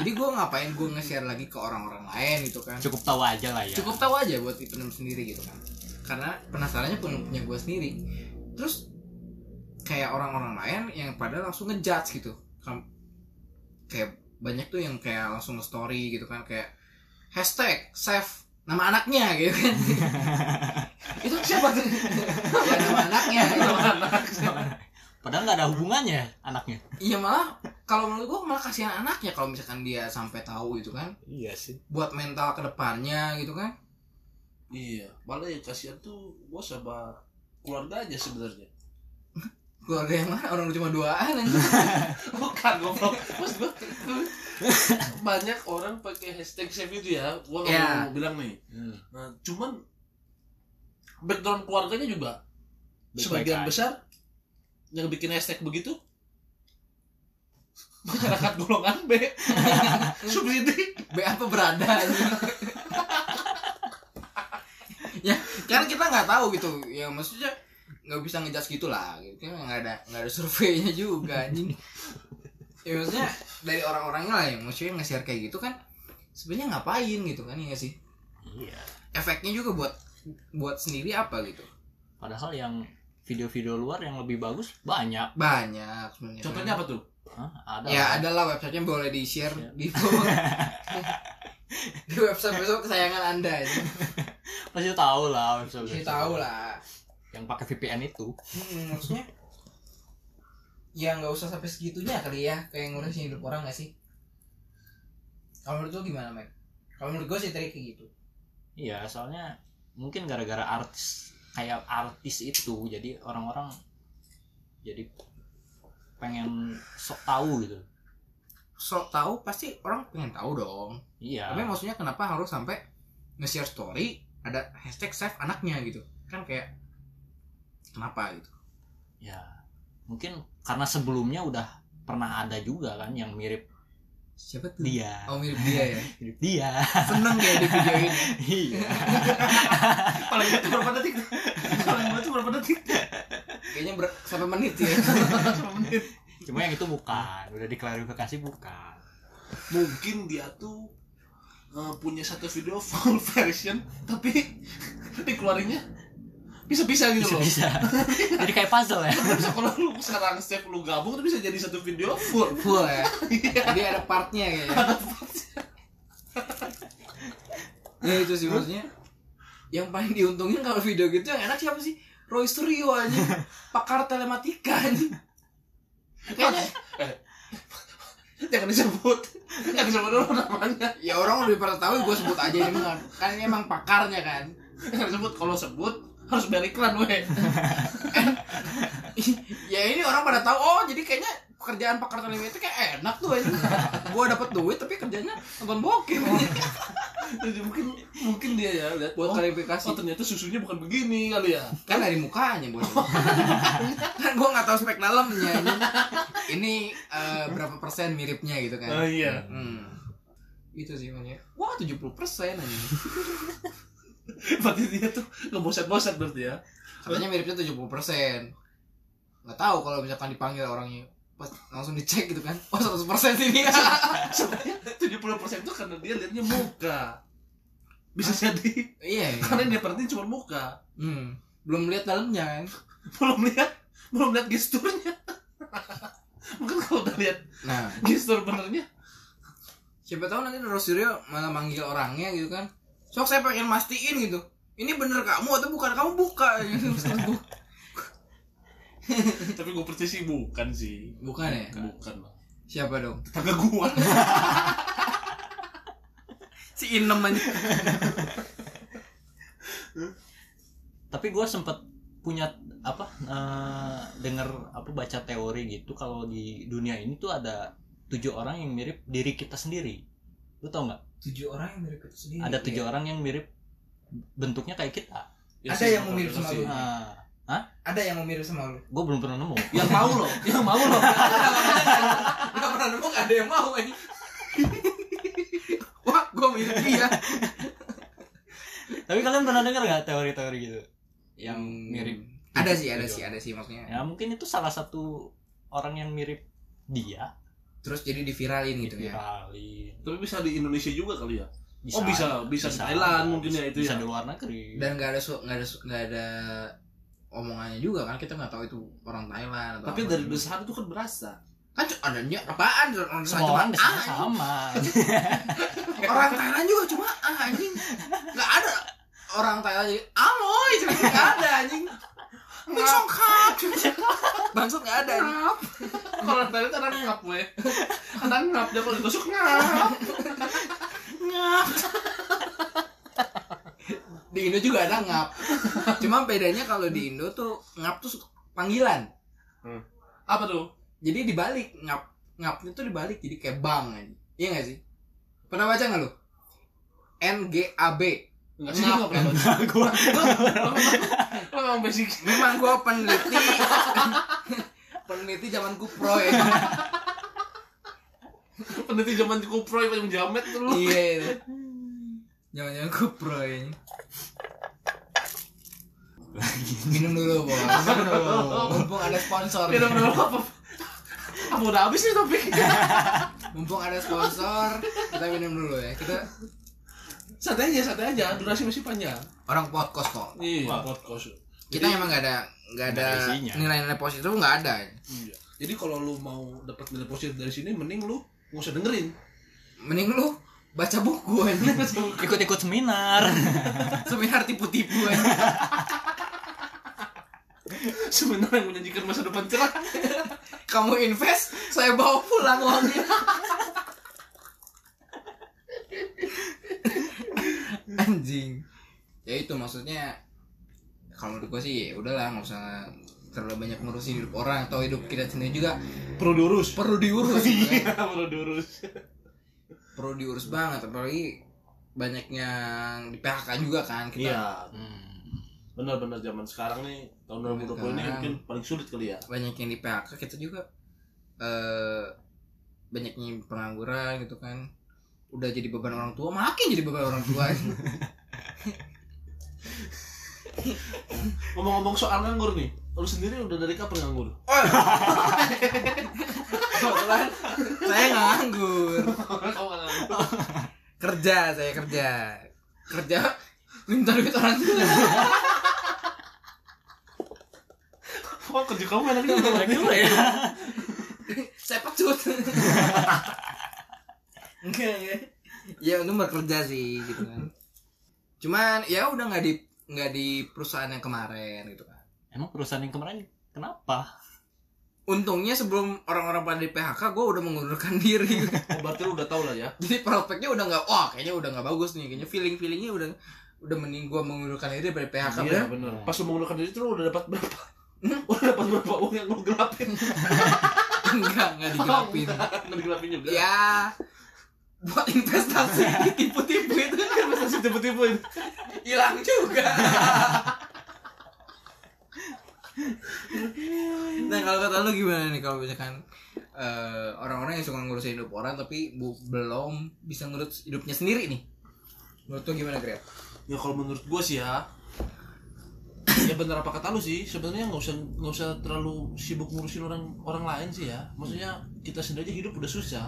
S1: jadi gue ngapain gue nge-share lagi ke orang-orang lain gitu kan
S2: Cukup tahu aja lah ya.
S1: cukup tahu aja buat penem sendiri gitu kan karena penasarannya pun punya gue sendiri terus kayak orang-orang lain yang pada langsung ngejudge gitu Kam- kayak banyak tuh yang kayak langsung nge-story gitu kan kayak hashtag save nama anaknya gitu kan itu siapa tuh ya, nama anaknya gitu.
S2: Padahal nggak ada hubungannya anaknya.
S1: Iya malah kalau menurut gua malah kasihan anaknya kalau misalkan dia sampai tahu gitu kan
S2: Iya sih.
S1: buat mental kedepannya gitu kan
S3: iya malah yang kasihan tuh gua sama keluarga aja sebenarnya
S1: keluarga yang mana orang lu cuma duaan anjing.
S3: bukan goblok maksud gua banyak orang pakai hashtag save itu ya gua nggak
S1: Iya.
S3: mau bilang nih Nah, cuman background keluarganya juga
S2: Baik-baik
S3: sebagian
S2: aja.
S3: besar yang bikin hashtag begitu masyarakat golongan B subsidi
S1: B apa berada anjing. ya karena kita nggak tahu gitu ya maksudnya nggak bisa ngejudge gitu lah gitu kan nggak ada nggak ada surveinya juga anjing ya maksudnya dari orang-orangnya lah yang maksudnya nge-share kayak gitu kan sebenarnya ngapain gitu kan ya sih
S2: Iya.
S1: efeknya juga buat buat sendiri apa gitu
S2: Padahal yang video-video luar yang lebih bagus banyak.
S1: banyak sebenarnya
S3: contohnya apa Iya. tuh
S2: Hah? ada
S1: ya
S2: lah.
S1: adalah websitenya boleh di share
S2: Share.
S1: di di website besok kesayangan anda ya.
S2: pasti tahu lah website
S1: Saya tahu lah.
S2: yang pakai VPN itu
S1: Hmm, maksudnya ya nggak usah sampai segitunya kali ya kayak ngurusin hidup orang nggak sih? Kalau menurut lo gimana, Mac? Kalau menurut gue sih tadi kayak gitu.
S2: Iya, soalnya mungkin gara-gara artis kayak artis itu jadi orang-orang jadi pengen sok tahu gitu.
S1: Sok tahu pasti orang pengen tahu dong.
S2: Iya.
S3: Ya.
S1: Tapi maksudnya kenapa harus sampai nge-share story ada hashtag save anaknya gitu? Kan kayak kenapa gitu?
S2: Ya. Mungkin karena sebelumnya udah pernah ada juga kan yang mirip
S1: Siapa tuh?
S2: dia.
S1: Oh mirip dia ya.
S2: Mirip dia.
S1: Seneng kayak di video ini.
S2: iya.
S3: paling itu berapa detik paling itu berapa detik
S1: Kayaknya ber- sampai menit ya.
S2: Cuma yang itu bukan, udah diklarifikasi bukan.
S3: mungkin dia tuh eh, punya satu video full version tapi dikeluarinnya bisa-bisa gitu loh
S2: Bisa-bisa. jadi kayak puzzle ya.
S3: bisa kalau lu sekarang setiap lu gabung tuh bisa jadi satu video full
S1: Full ya. Jadi ada partnya kayaknya. Ya itu sih maksudnya. Yang paling diuntungin kalau video gitu yang enak siapa sih? Roy Suryo aja. Pakar telematika aja. Kayaknya
S3: jangan disebut jangan disebut dulu namanya
S1: ya orang lebih pada tahu gue sebut aja ini mah. kan ini emang pakarnya kan
S3: jangan disebut kalau sebut harus bayar iklan weh
S1: ya ini orang pada tahu oh jadi kayaknya pekerjaan pakar telematika itu kayak enak tuh aja gue dapet duit tapi kerjanya nonton bokep
S3: jadi mungkin mungkin dia ya lihat
S1: buat
S3: oh,
S1: klarifikasi
S3: oh, ternyata susunya bukan begini kali ya
S1: kan dari mukanya bos kan gue nggak tahu spek dalamnya ini, ini eh, berapa persen miripnya gitu kan
S3: iya
S1: hmm. itu sih makanya wah 70% persen aja
S3: berarti dia tuh nggak bosan-bosan berarti ya
S1: katanya miripnya 70% nggak tahu kalau misalkan dipanggil orangnya pas langsung dicek gitu kan oh 100% sih dia
S3: Sebenarnya 70% itu karena dia liatnya muka. Bisa jadi
S1: iya iya.
S3: karena yang dia perhatiin cuma muka.
S1: hmm. belum lihat dalamnya kan
S3: Belum lihat, belum lihat gesturnya. Mungkin kalau udah lihat
S1: nah
S3: gestur benernya,
S1: siapa tahu nanti Rosario malah manggil orangnya gitu kan sok saya pengen mastiin gitu ini bener kamu atau bukan kamu buka gitu. Terus gua,
S3: tapi gue percaya sih bukan sih.
S1: bukan ya
S3: Bukan. lah.
S1: siapa dong
S3: Tetangga gua.
S1: si Inem aja
S2: tapi gue sempet punya apa eh, denger apa baca teori gitu kalau di dunia ini tuh ada tujuh orang yang mirip diri kita sendiri lu tau nggak
S1: tujuh orang yang mirip itu sendiri
S2: ada tujuh orang yang mirip bentuknya kayak kita
S1: Ada
S3: sih,
S1: yang mau mirip sama
S3: sih.
S1: lu.
S2: nah
S1: ada yang mau mirip sama lu
S2: gue belum pernah nemu
S3: Yang mau loh, yang mau loh.
S1: nggak pernah nemu nggak ada yang mau eh. ini wah gue mirip dia
S2: tapi kalian pernah dengar nggak teori-teori gitu yang mirip
S1: ada sih ada
S2: Tujuh
S1: sih
S2: orang.
S1: ada sih maksudnya
S2: ya mungkin itu salah satu orang yang mirip dia
S1: terus jadi diviralin gitu ya
S2: diviralin.
S3: Tapi bisa di Indonesia juga kali ya. Oh, bisa, bisa di Thailand mungkin ya itu
S2: bisa
S3: ya.
S2: di luar negeri
S1: dan nggak ada su- nggak ada su- nggak ada omongannya juga kan kita nggak tahu itu orang Thailand atau
S3: Tapi
S1: apa. gitu.
S3: dari besar itu kan berasa.
S1: kan cu- adanya apaan orang
S2: semua orang
S1: Thailand
S2: besarnya
S1: cuma
S2: sama
S1: ah, orang Thailand juga cuma ah anjing nggak ada orang Thailand jadi aloy cuma nggak ada anjing Ini songkak bangsat nggak ada anjing.
S3: Ngap. Kalau orang Thailand ada ngap weh. Ada ngap dia kalau ditusuk ngap.
S1: di Indo juga ada ngap cuma bedanya kalau di Indo tuh ngap tuh panggilan
S3: Apa tuh?
S1: jadi dibalik ngap ngapnya tuh dibalik jadi kayak bang anjing iya nggak sih pernah baca nggak lu N G A B
S3: Enggak sih, gua nggak pernah baca.
S2: gua
S3: Lo memang basic
S1: memang gua peneliti peneliti zaman kupro ya
S3: peneliti zaman kuproy paling jamet tuh lu.
S1: iya itu jangan-jangan kupro ini minum dulu bos mumpung ada sponsor
S3: Minum dulu apa? Apa udah habis nih topik?
S1: mumpung ada sponsor kita minum dulu ya kita
S3: santai aja, santai aja. Durasi masih panjang.
S1: orang podcast kok
S3: Iya, podcast.
S1: kita emang nggak ada nggak ada
S2: Nggak ada isinya.
S1: nilai-nilai positif nggak ada
S3: Iya. Jadi jadi kalau lu mau dapat nilai positif dari sini mending lu nggak usah dengerin
S1: Mending lu baca buku aja.
S2: ikut-ikut seminar
S1: Seminar tipu-tipu aja.
S3: sebenarnya yang menjanjikan masa depan cerah
S1: Kamu invest, saya bawa pulang uangnya. Anjing. Ya itu maksudnya kalau menurut gue sih ya udahlah nggak usah terlalu banyak ngurusin hidup orang atau hidup kita sendiri juga
S3: perlu diurus
S1: perlu diurus ya.
S3: iya perlu diurus
S1: perlu diurus banget apalagi banyak yang di PHK juga kan kita
S3: iya benar-benar zaman sekarang nih tahun 2020 ini
S1: Sekarang.
S3: mungkin paling sulit kali ya
S1: banyak yang di PHK kita juga eh banyak yang pengangguran gitu kan udah jadi beban orang tua makin jadi beban orang tua
S3: ngomong-ngomong soal nganggur nih lu sendiri udah dari kapan nganggur
S1: kebetulan Gitu kan. saya nganggur
S3: Kamu nggak nganggur
S1: kerja saya kerja kerja minta duit orang tua
S3: oh kerja kamu enaknya udah lagi
S2: Gila ya.
S3: Iya.
S1: saya pecut enggak ya ya untung bekerja sih gitu kan cuman ya udah nggak di nggak di perusahaan yang kemarin gitu kan
S2: emang perusahaan yang kemarin kenapa
S1: untungnya sebelum orang-orang pada di PHK gue udah mengundurkan diri
S3: oh berarti lu udah tau lah ya
S1: jadi prospeknya udah nggak wah kayaknya udah nggak bagus nih kayaknya feeling feelingnya udah udah mending gue mengundurkan diri daripada PHK
S3: iya
S1: udah
S3: bener pas lu menggunakan diri itu lu udah dapat berapa udah dapat berapa uang yang lu gelapin
S1: enggak nggak digelapin
S3: nggak digelapin juga
S1: ya buat investasi tipu-tipu itu
S3: investasi tipu-tipuin
S1: hilang juga nah kalau kata lu gimana nih kalau misalkan eh, orang-orang yang suka ngurusin hidup orang tapi bu- belum bisa ngurus hidupnya sendiri nih menurut lu gimana Greg?
S3: ya kalau menurut gue sih ya ya bener apa kata lu sih sebenarnya nggak usah nggak usah terlalu sibuk ngurusin orang orang lain sih ya maksudnya kita sendiri aja hidup udah susah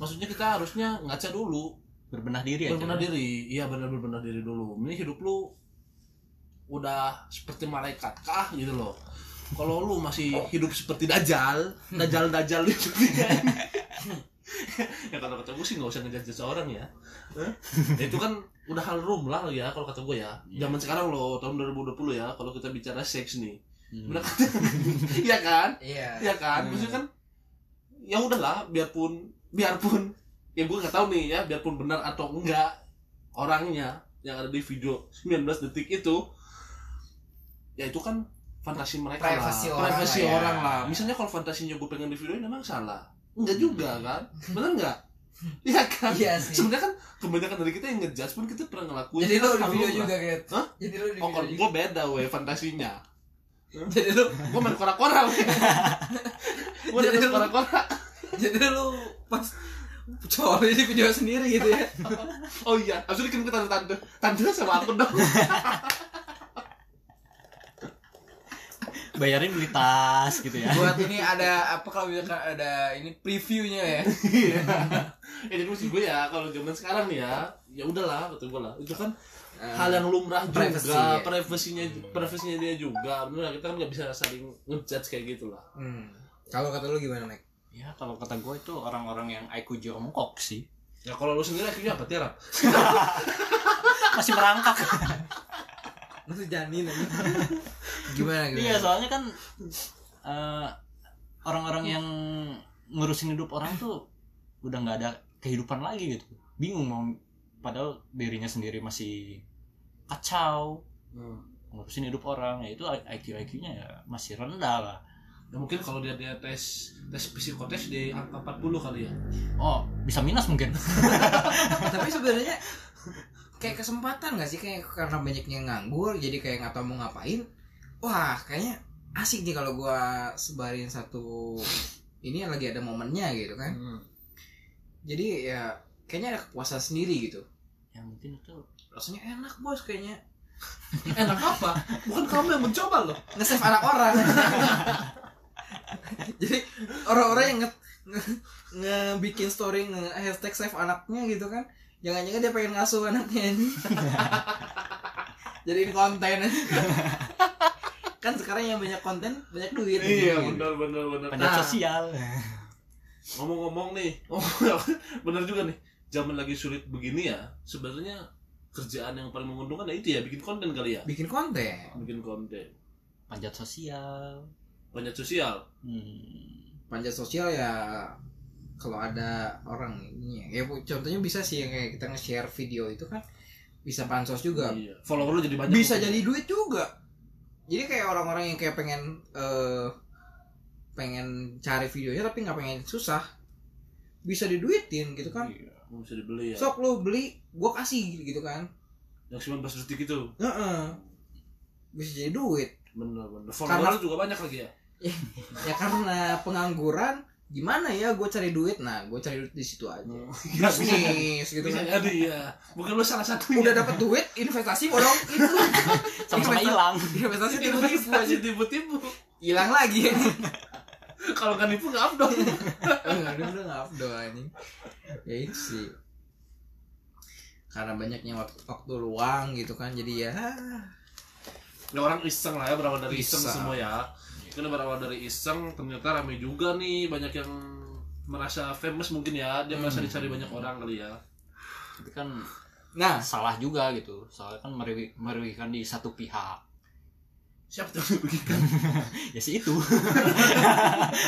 S3: maksudnya kita harusnya ngaca dulu
S2: berbenah diri aja
S3: berbenah diri iya bener berbenah diri dulu ini hidup lu udah seperti malaikat kah gitu loh kalau lu masih hidup seperti dajal dajal dajal itu ya kalau kata gue sih nggak usah ngejudge seorang ya Hah? itu kan udah hal rumlah ya kalau kata gue ya zaman sekarang loh tahun 2020 ya kalau kita bicara seks nih
S2: Hmm.
S3: bener kata iya kan
S1: iya
S3: ya
S4: Hmm.
S3: kan maksudnya kan ya udahlah biarpun biarpun ya gue nggak tahu nih ya biarpun benar atau enggak orangnya yang ada di video 19 detik itu ya itu kan fantasi mereka
S4: Privasi
S3: lah
S4: orang
S3: privasi
S4: lah ya.
S3: orang lah misalnya kalau fantasinya gue pengen di videoin emang salah enggak juga kan bener enggak Iya kan?
S4: Iya sih.
S3: Sebenarnya kan kebanyakan dari kita yang ngejudge pun kita pernah ngelakuin.
S4: Jadi lu di
S3: Hal
S4: video
S3: lumrah.
S4: juga, Gret.
S3: Hah?
S4: Jadi lu di
S3: Oh,
S4: video
S3: kalau
S4: juga.
S3: gue beda weh fantasinya.
S1: jadi lu
S3: Gue main kora-kora weh. Gue
S1: Jadi
S3: main
S1: lu-
S3: kora-kora.
S1: jadi lu pas cowok di video sendiri gitu ya
S3: Oh iya, abis itu dikirim ke tante-tante Tante sama aku dong
S2: bayarin beli tas gitu ya
S1: buat ini ada apa kalau misalkan ada ini previewnya ya
S3: Iya Ya jadi maksud gue ya, kalau zaman sekarang nih ya Ya udahlah, kata gue lah Itu kan
S1: Eh,
S3: hal yang lumrah juga
S1: privacy ya.
S3: Privasinya, privasinya dia juga Bener lah, kita kan gak bisa saling ngejudge kayak gitu lah
S1: Hmm. kalau kata lu gimana Mek?
S2: ya kalau kata gue itu orang-orang yang IQ jongkok sih
S3: Ya kalau lu sendiri akhirnya apa, Tiara?
S2: masih merangkak
S1: lu tuh janin aja gimana gimana
S2: Iya, soalnya kan eh, orang-orang yang ngurusin hidup orang tuh udah nggak ada kehidupan lagi gitu. Bingung mau padahal dirinya sendiri masih kacau
S3: Hmm.
S2: ngurusin hidup orang ya itu IQ IQ-nya ya masih rendah lah.
S3: Ya mungkin kalau dia, dia tes tes psikotes di angka 40 kali ya
S2: Oh, bisa minus mungkin.
S1: tapi sebenarnya kayak kesempatan gak sih kayak karena banyaknya nganggur jadi kayak nggak tahu mau ngapain wah kayaknya asik nih kalau gua sebarin satu ini lagi ada momennya gitu kan
S3: Hmm.
S1: jadi ya kayaknya ada kepuasan sendiri gitu
S2: ya mungkin itu
S1: rasanya enak bos kayaknya
S3: Enak apa? Bukan kamu yang mencoba loh
S1: nge-save anak orang jadi orang-orang yang nge, nge- ngebikin story nge hashtag save anaknya gitu kan jangan-jangan dia pengen ngasuh anaknya ini jadiin konten
S4: kan sekarang yang banyak konten banyak duit
S3: iya
S4: Gitu.
S3: benar benar benar
S2: Pendat
S4: Nah.
S2: sosial.
S3: ngomong-ngomong nih bener juga nih zaman lagi sulit begini ya sebenarnya kerjaan yang paling menguntungkan ya itu ya bikin konten kali ya
S1: bikin konten
S3: bikin konten
S2: Panjat sosial.
S3: banyak sosial
S2: Hmm.
S1: panjat sosial ya kalau ada orang ini ya, Ya, bu- contohnya bisa sih yang kayak kita nge-share video itu kan bisa pansos juga
S3: iya. follower lu jadi banyak
S1: bisa jadi duit juga jadi kayak orang-orang yang kayak pengen eh, pengen cari videonya tapi nggak pengen susah bisa diduitin gitu kan
S3: Iya, bisa dibeli ya
S1: sok lo beli gua kasih gitu kan
S3: yang 19 detik itu
S1: Heeh. bisa jadi duit
S3: bener bener follower lu juga banyak lagi ya
S1: ya karena pengangguran gimana ya gue cari duit nah gue cari duit di situ aja
S3: Gila, Iya, bisa
S1: bisnis gitu
S3: bisa
S1: kan
S3: jadi ya bukan lu salah satu ya.
S1: udah dapat duit investasi bodong itu kan
S2: Sama-sama hilang.
S1: investasi tipu-tipu aja
S3: investasi tipu-tipu
S1: hilang lagi
S3: kalau nggak nipu nggak update
S1: aduh udah nggak afdol anjing ya itu sih karena banyaknya waktu, waktu luang gitu kan jadi ya
S3: ya orang iseng lah ya berawal dari iseng,
S1: Iseng.
S3: semua ya karena berawal dari iseng ternyata ramai juga nih banyak yang merasa famous mungkin ya dia merasa dicari banyak orang kali ya
S2: Itu kan
S1: nah
S2: salah juga gitu. Soalnya kan merugi- merugikan di satu pihak.
S3: siapa tuh yang merugikan
S2: Ya sih itu.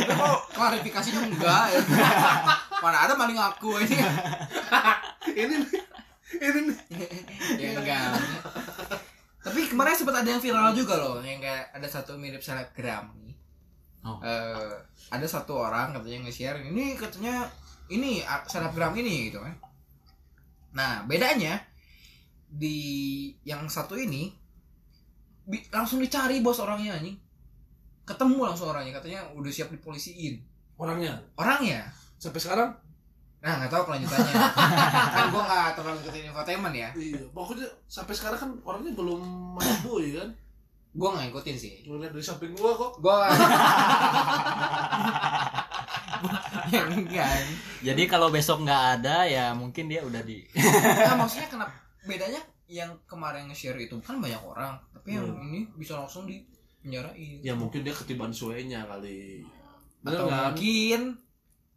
S1: tapi kok klarifikasinya enggak ya mana ada maling aku ini
S3: ini nih, ini nih.
S1: ya enggak tapi kemarin sempat ada yang viral juga loh yang kayak ada satu mirip selebgram nih
S2: Oh.
S1: Eh, ada satu orang katanya nge-share ini katanya ini ah, selebgram ini gitu kan nah bedanya di yang satu ini bi- langsung dicari bos orangnya anjing ketemu langsung orangnya katanya udah siap dipolisiin
S3: orangnya
S1: orangnya
S3: sampai sekarang
S1: nah nggak tahu kelanjutannya kan gua nggak terlalu ngikutin infotainment ya
S3: iya pokoknya sampai sekarang kan orangnya belum mabuk ya kan
S1: gua nggak ngikutin sih
S3: ngeliat dari samping gua kok
S1: gua ya enggak
S2: Jadi kalau besok nggak ada ya mungkin dia udah di
S1: nah, maksudnya kenapa bedanya yang kemarin nge-share itu kan banyak orang tapi yang
S3: Hmm.
S1: ini bisa langsung di penjarain
S3: ya mungkin dia ketibaan suenya kali bener
S1: atau
S3: kan
S1: mungkin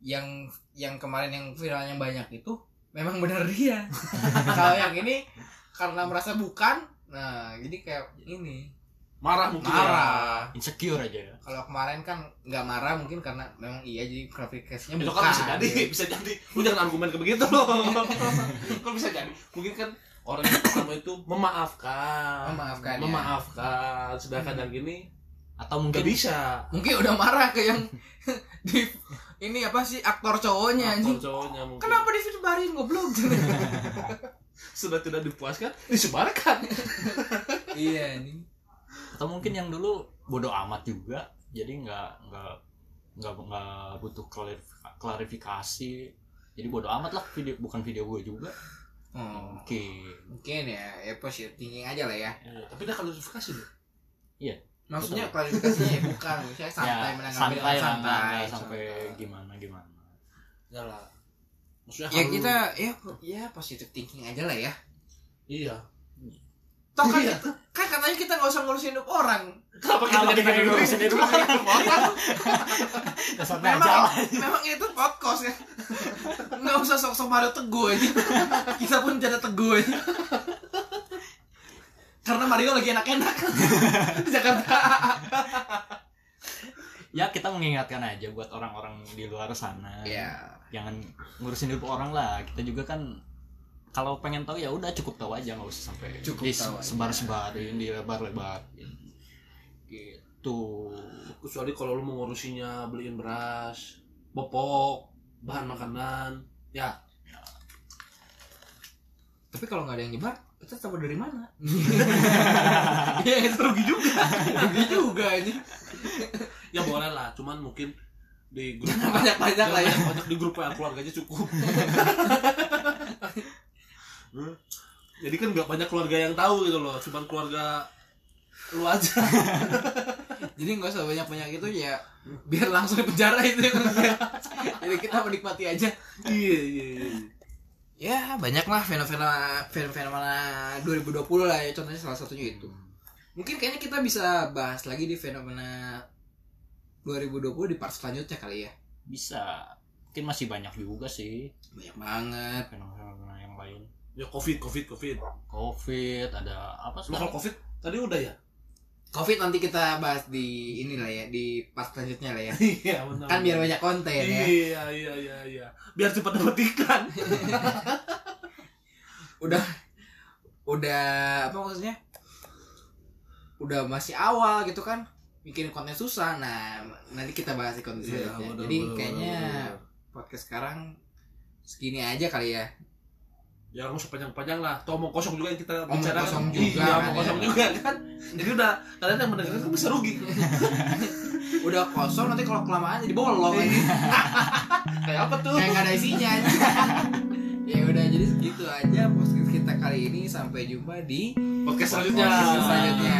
S1: yang yang kemarin yang viralnya banyak itu memang benar dia kalau yang ini karena merasa bukan nah jadi kayak ini
S3: marah mungkin ya.
S1: marah
S2: insecure aja.
S1: kalau kemarin kan nggak marah mungkin karena memang iya jadi klarifikasinya
S3: itu
S1: bukan
S3: kan bisa jadi bisa jadi lu jangan argumen ke begitu loh kan bisa jadi mungkin kan orang yang pertama itu memaafkan
S1: Memaafkan, ya.
S3: memaafkan sedangkan yang gini
S2: Atau
S3: nggak
S2: mungkin
S3: bisa
S1: mungkin udah marah ke yang di ini apa sih aktor cowoknya anjing
S3: Atau cowoknya mungkin
S1: kenapa disebarin goblok
S3: sudah tidak dipuaskan disebarkan
S1: iya anjing
S2: atau mungkin yang dulu bodoh amat juga. Jadi nggak nggak nggak nggak butuh klarif- klarifikasi. Jadi bodoh amat lah video bukan video gue juga.
S1: oh,
S2: Oke.
S1: mungkin ya ya positive thinking aja lah ya
S3: Iya, tapi udah klarifikasi deh
S1: maksudnya klarifikasinya ya bukan saya santai
S2: Ya,
S1: menanggapi
S2: santai
S1: dengan
S2: lah nggak-
S1: santai
S2: nggak sampai gimana gimana.
S3: ya lah maksudnya
S1: ya
S3: halu.
S1: kita ya ya positive thinking aja lah ya
S3: iya
S1: toh kan,
S3: Iya.
S1: kita- kan katanya kita nggak usah ngurusin hidup orang Iya.
S3: kenapa kita
S2: Kenapa
S3: jadi
S2: kita
S3: pengen
S2: ngurusin hidup
S3: orang?
S2: Ya, santai aja
S1: memang
S2: lah.
S1: memang itu podcast ya nggak usah sok-sok Mario teguh aja kita pun jadi teguh aja karena Mario lagi enak-enak di Jakarta
S2: Ya kita mengingatkan aja buat orang-orang di luar sana.
S1: Iya.
S2: jangan ngurusin hidup orang lah kita juga kan kalau pengen tahu ya udah cukup tahu aja nggak usah sampai
S1: Cukup tahu aja.
S2: sebar sebarin dilebar lebar gitu
S3: kecuali kalau lu mau ngurusinya beliin beras popok bahan makanan ya
S1: tapi kalau nggak ada yang nyebar kita tahu dari mana ya itu rugi juga rugi juga ini
S3: ya boleh lah cuman mungkin di grup
S1: banyak-banyak lah ya
S3: Jangan banyak di grup ya keluarganya cukup Hmm. jadi kan nggak banyak keluarga yang tahu gitu loh cuman keluarga lu aja
S1: jadi nggak usah banyak-banyak itu ya biar langsung di penjara itu ya. jadi kita menikmati aja
S3: iya iya iya
S1: ya banyak lah fenomena fenomena 2020 lah ya contohnya salah satunya itu mungkin kayaknya kita bisa bahas lagi di fenomena 2020 di part selanjutnya kali ya
S2: bisa mungkin masih banyak juga sih
S1: banyak banget
S2: fenomena yang lain
S3: ya covid covid covid
S2: covid ada apa
S3: lokal
S2: sekarang
S3: covid tadi udah ya
S1: covid nanti kita bahas di inilah ya di part selanjutnya lah ya
S3: iya benar
S1: kan biar banyak konten ya
S3: iya iya iya iya biar cepat dapat ikan
S1: udah udah apa maksudnya udah masih awal gitu kan bikin konten susah nah nanti kita bahas di konten
S3: Iya,
S1: selanjutnya
S3: benar,
S1: jadi
S3: benar,
S1: kayaknya
S3: benar, benar.
S1: podcast sekarang segini aja kali ya
S3: ya nggak usah panjang-panjang lah toh mau kosong juga yang kita
S1: Oh, mau
S3: bicarakan.
S1: kosong juga
S3: iya,
S1: kan,
S3: mau
S1: ya.
S3: kosong juga kan jadi udah kalian yang mendengarkan kan bisa rugi
S1: udah kosong nanti kalau kelamaan jadi bolong
S3: kayak apa tuh
S1: Iya. kayak nggak ada isinya ya udah jadi segitu aja podcast kita kali ini sampai jumpa di
S3: podcast selanjutnya
S1: podcast selanjutnya